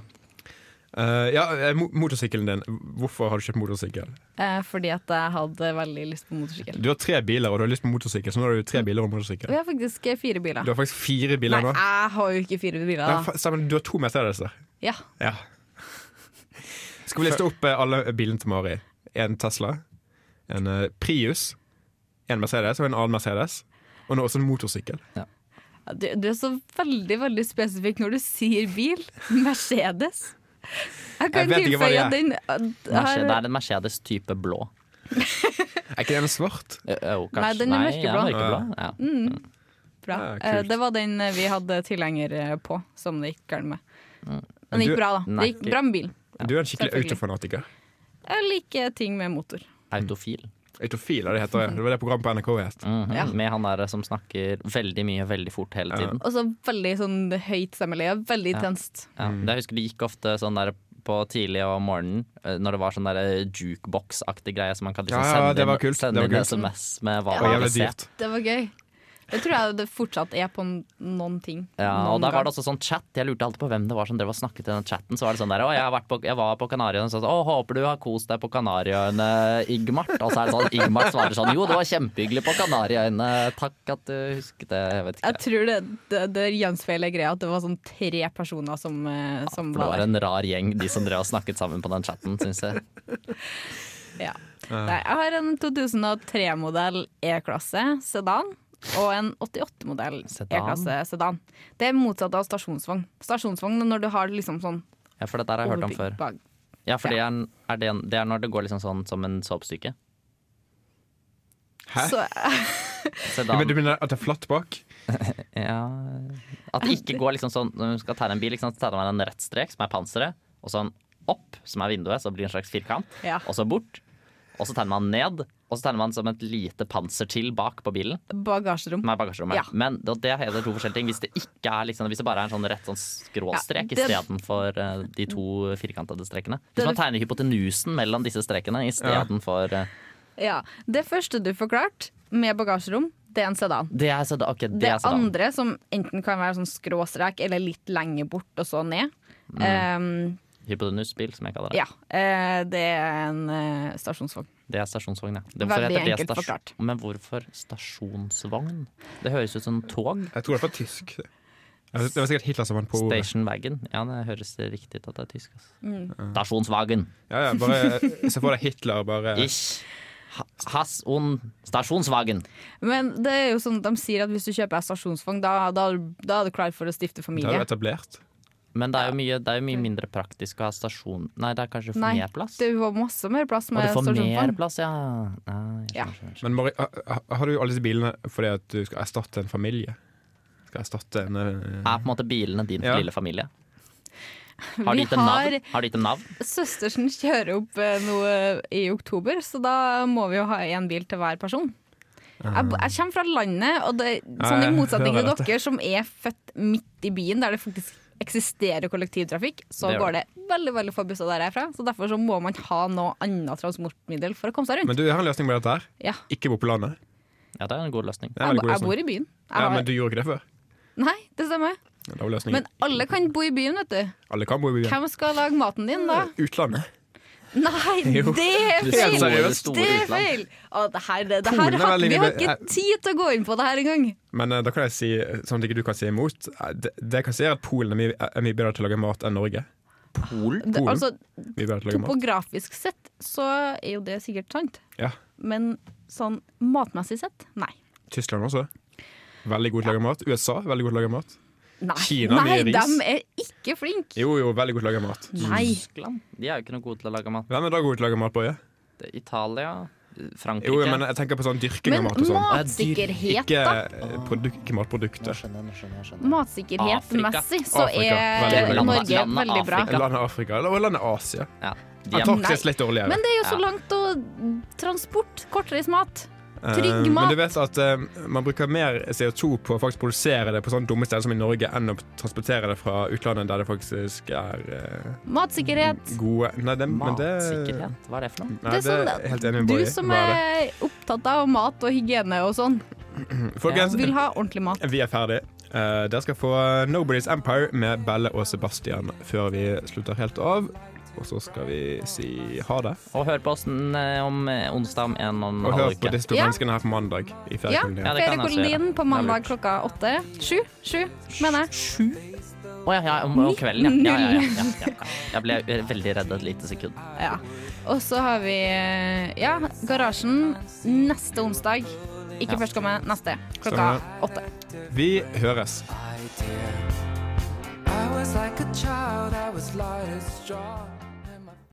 S1: Eh, ja, eh, mo- motorsykkelen din. Hvorfor har du kjøpt motorsykkel?
S2: Eh, fordi at jeg hadde veldig lyst på motorsykkel.
S1: Du har tre biler, og du har lyst på motorsykkel, så nå har du tre biler og motorsykkel.
S2: Vi har faktisk eh, fire biler.
S1: Du har faktisk fire
S2: Mm. Nei,
S1: biler nå.
S2: jeg har jo ikke fire biler.
S1: Nei,
S2: Da.
S1: fa- stemmer, du har to Mercedeser.
S2: Ja.
S1: Ja. Skal vi liste opp eh, alle bilene til Mari? En Tesla, en eh, Prius, en Mercedes og en annen Mercedes. Og nå også en motorsykkel.
S2: Du, du er så veldig veldig spesifikk når du sier bil. Mercedes. Jeg kan
S1: vet ikke hva
S2: tilføye at
S1: det
S2: den at-
S3: Merce- Det
S2: har,
S3: er en Mercedes type blå.
S1: Er ikke den svart?
S3: Ø- ø, Eh, kanskje-
S2: Nei, den er mørkeblå.
S3: ja, mørkeblå. Ja.
S2: bra.
S1: Ja, kult.
S2: Eh, Det var den eh, vi hadde tilhenger eh, på, som det gikk galt med. Men
S1: Du-
S2: det gikk bra, da.
S3: Mm. Nei.
S2: Det gikk bra med bil.
S1: Du er en skikkelig
S2: Selvfølgelig.
S1: autofanatiker.
S2: Jeg liker ting med motor.
S3: Autofil.
S1: Autofil, er det heter det. Det var det programmet på NRK het.
S3: Mhm.
S2: Ja.
S3: Med han der som snakker veldig mye veldig fort hele tiden.
S2: Og så veldig sånn høyt stemmeleie. Veldig intenst.
S3: Ja.
S1: Mm.
S3: Det jeg husker det gikk ofte sånn der på tidlig om morgenen, ø, når det var sånn der jukebox-aktig greie som man kan liksom
S1: Ja, ja,
S3: sende
S1: det var
S3: inn,
S1: kult.
S3: sende
S1: Det var
S3: inn
S1: kult.
S3: SMS med hva
S1: Og
S3: man vil
S1: jævlig
S3: se.
S1: dyrt.
S2: Det var gøy. Det tror jeg det fortsatt er på n- noen ting.
S3: Ja,
S2: Noen
S3: og der var
S2: gang.
S3: det også sånn chat. Jeg lurte alltid på hvem det var som drev og snakket i den chatten. Så var det sånn der, å, jeg, har vært på, jeg var på Kanariøyene, og så sånn, å, håper du har kost deg på Kanariøyene, Igmart. Og så er det sånn, Igmart svarer sånn, jo, det var kjempehyggelig på Kanariøyene, takk at du husket det, jeg vet
S2: Jeg
S3: ikke.
S2: tror det, det, det gjenspeiler greia at det var sånn tre personer som, eh, som
S3: For det
S2: var
S3: var
S2: der.
S3: en rar gjeng, de som drev og snakket sammen på den chatten, syns jeg.
S2: Ja. Nei, jeg har en 2003-modell E-klasse sedan og en 88-modell
S3: Sedan?
S2: E-klasse sedan. Det er motsatt av stasjonsvogn. Stasjonsvogn er når du har liksom sånn
S3: Ja, for dette har jeg hørt om før.
S2: overbygg bak.
S3: Ja, for det er, en- er det, en, det er når det går liksom sånn som en såpestykke.
S1: Hæ?
S2: Så, eh,
S1: Ja, men du
S3: Sedan.
S1: mener at det er flatt bak?
S3: Ja. At det ikke går liksom sånn, når du skal tegne en bil, ikke sant, så tegner man en rett strek, som er panseret, og sånn opp, som er vinduet, så det blir en slags firkant.
S2: ja.
S3: og så bort. Og så tegner man ned, og så tegner man som et lite panser til bak på bilen.
S2: Bagasjerom.
S3: Som er bagasjerommet.
S2: Ja.
S3: Men det, det er to forskjellige ting. Hvis det, ikke er liksom, hvis det bare er en sånn rett sånn skråstrek
S2: Ja, det-
S3: istedenfor uh, de to firkantede strekene.
S2: Det-
S3: Hvis man tegner hypotenusen mellom disse strekene istedenfor uh,
S2: Ja, Det første du forklarte, med bagasjerom, det er en sedan.
S3: Det er sedan. Ok, det,
S2: Det
S3: er sedan.
S2: andre som enten kan være sånn skråstrek eller litt lenger bort og så ned.
S3: Mm.
S2: Um,
S3: Hypotenusbil, som jeg kaller det.
S2: ja, eh, det er en eh, stasjonsvogn.
S3: Det er stasjonsvogn, ja. Det-
S2: Veldig
S3: hvorfor heter det
S2: enkelt
S3: stasjon-
S2: forklart.
S3: Men hvorfor stasjonsvogn? Det høres ut som tog.
S1: Jeg tror det er fra tysk. det. Jeg vet- Det var sikkert Hitler som vant på ordet.
S3: Station wagon. Ja, det høres riktig ut at det er tysk. Altså.
S2: Mm.
S3: Stasjonswagen.
S1: Ja, ja, bare, eh, Se for deg Hitler bare
S3: Ich has un stasjonswagen.
S2: Men det er jo sånn, de sier at hvis du kjøper en stasjonsvogn, da, da, da er du klar for å stifte
S1: Det er
S2: familie.
S1: jo etablert.
S3: Men det er jo mye, det er jo mye mindre praktisk å ha stasjon Nei, det er kanskje for
S2: Nei,
S3: mer plass?
S2: Du får masse mer plass
S3: Og
S2: med
S3: du får mer
S2: stasjonsvogn.
S3: plass, ja. Nei, jeg
S2: Ja.
S3: skjønner, skjønner, skjønner.
S1: Men Mari, ha- ha- har du alle disse bilene fordi at du skal erstatte en familie? Skal erstatte en eh,
S3: Er på en måte bilene din
S1: Ja.
S3: lille familie? Har de
S2: Vi
S3: gitt en
S2: har
S3: navn? Har de gitt en navn?
S2: Søstersen kjører opp eh, noe i oktober, så da må vi jo ha én bil til hver person. Jeg, bo- jeg kommer fra landet, og det, sånn i
S1: jeg
S2: motsetning til
S1: hører dette.
S2: dere som er født midt i byen, der det faktisk eksisterer kollektivtrafikk, så
S3: Det gjør
S2: går det veldig veldig få busser der jeg er fra. Så derfor så må man ha noe annet transportmiddel for å komme seg rundt.
S1: Men du, jeg har en løsning på dette her.
S2: Ja.
S1: Ikke bo på landet.
S3: Ja, det er en god løsning.
S1: Det er en
S2: jeg,
S1: veldig
S2: bo-
S1: god
S2: jeg
S1: løsning.
S2: bor i byen. Jeg
S1: Ja,
S2: har,
S1: men du gjorde ikke det før.
S2: Nei, det stemmer.
S1: Det var løsningen.
S2: Men alle kan bo i byen, vet du.
S1: alle kan bo i byen.
S2: Hvem skal lage maten din da?
S1: Utlandet.
S2: Nei,
S1: Mm. Jo.
S2: det er
S3: Det
S1: er
S2: feil!
S1: store,
S3: store
S2: Det er
S3: utland.
S2: feil! Å, det her, det, det
S1: Polen
S2: her
S1: er
S2: har,
S1: veldig
S2: vi har
S1: mye-
S2: ikke tid til å gå inn på det her engang.
S1: Men eh, da kan jeg si, eh, sånn at ikke du kan si imot eh, Det, det jeg kan si er at Polen er mye, er mye bedre til å lage mat enn Norge.
S3: Polen?
S2: Det,
S1: Polen?
S2: altså,
S1: Mye bedre til å lage mat.
S2: topografisk sett så er jo det sikkert sant,
S1: Ja.
S2: men sånn matmessig sett, nei.
S1: Tyskland også. Veldig god til å lage mat. USA, veldig god til å lage mat.
S2: Nei,
S1: Kina,
S2: nei
S1: mye ris.
S2: de er ikke flinke.
S1: Jo, jo, veldig god til å lage mat.
S2: Nei.
S3: Tyskland? De er jo ikke noe gode til å lage mat.
S1: Hvem er da god til å lage mat, Boje?
S3: Det er Italia? Frankrike?
S1: Jo, men jeg tenker på sånn dyrking
S2: Men
S1: av mat og sånn.
S2: matsikkerhet,
S1: Ikke,
S2: da.
S1: eh, produk ikke matprodukter.
S3: skjønner, jeg, skjønner, jeg, skjønner.
S2: Matsikkerhetsmessig så
S1: Afrika. Veldig
S2: er
S1: bra.
S2: Norge
S3: Landet-
S2: veldig bra.
S3: Afrika.
S1: Landet Afrika eller landet Asia.
S3: Ja. De er,
S1: Antarktis litt dårligere.
S2: Men det er jo så
S3: Ja.
S2: langt å Transport, kortreist mat.
S1: Eh,
S2: trygg
S1: Men
S2: mat.
S1: du vet at eh, man bruker mer CO2 på å faktisk produsere det på sånne dumme steder som i Norge, enn å transportere det fra utlandet, der det faktisk er eh,
S2: Matsikkerhet.
S1: gode Nei, det, men det
S3: matsikkerhet? Hva er det for noe?
S1: Nei, det er jeg helt enig med
S2: du
S1: Boje.
S2: som
S1: Hva er
S2: er opptatt av mat og hygiene og sånn,
S1: det? Folkens,
S2: vil ha ordentlig mat.
S1: vi er ferdig. Eh, dere skal få Nobody's Empire med Belle og Sebastian før vi slutter helt av. Og så skal vi si ha det.
S3: Og hør på oss n- om eh, onsdag om en og en
S1: Og hør
S3: halv
S1: på
S3: uke.
S1: disse to
S2: Ja.
S1: menneskene her på mandag. I
S2: Ja,
S1: feriekolonien.
S3: Ja, det kan jeg også
S2: Feriekolonien
S3: gjøre.
S2: på mandag klokka åtte. Sju, sju, mener jeg.
S3: Sju? Å ja, ja, om, om kvelden, ja. Ja, ja, ja, ja, ja. Jeg ble eh, veldig redd et lite sekund.
S2: Ja. Og så har vi eh, ja, Garasjen neste onsdag. Ikke
S3: Ja.
S2: førstkommende, neste. Klokka
S1: Stemmer
S2: åtte.
S1: Vi høres.
S7: idea. I was like a child, I was light as straw.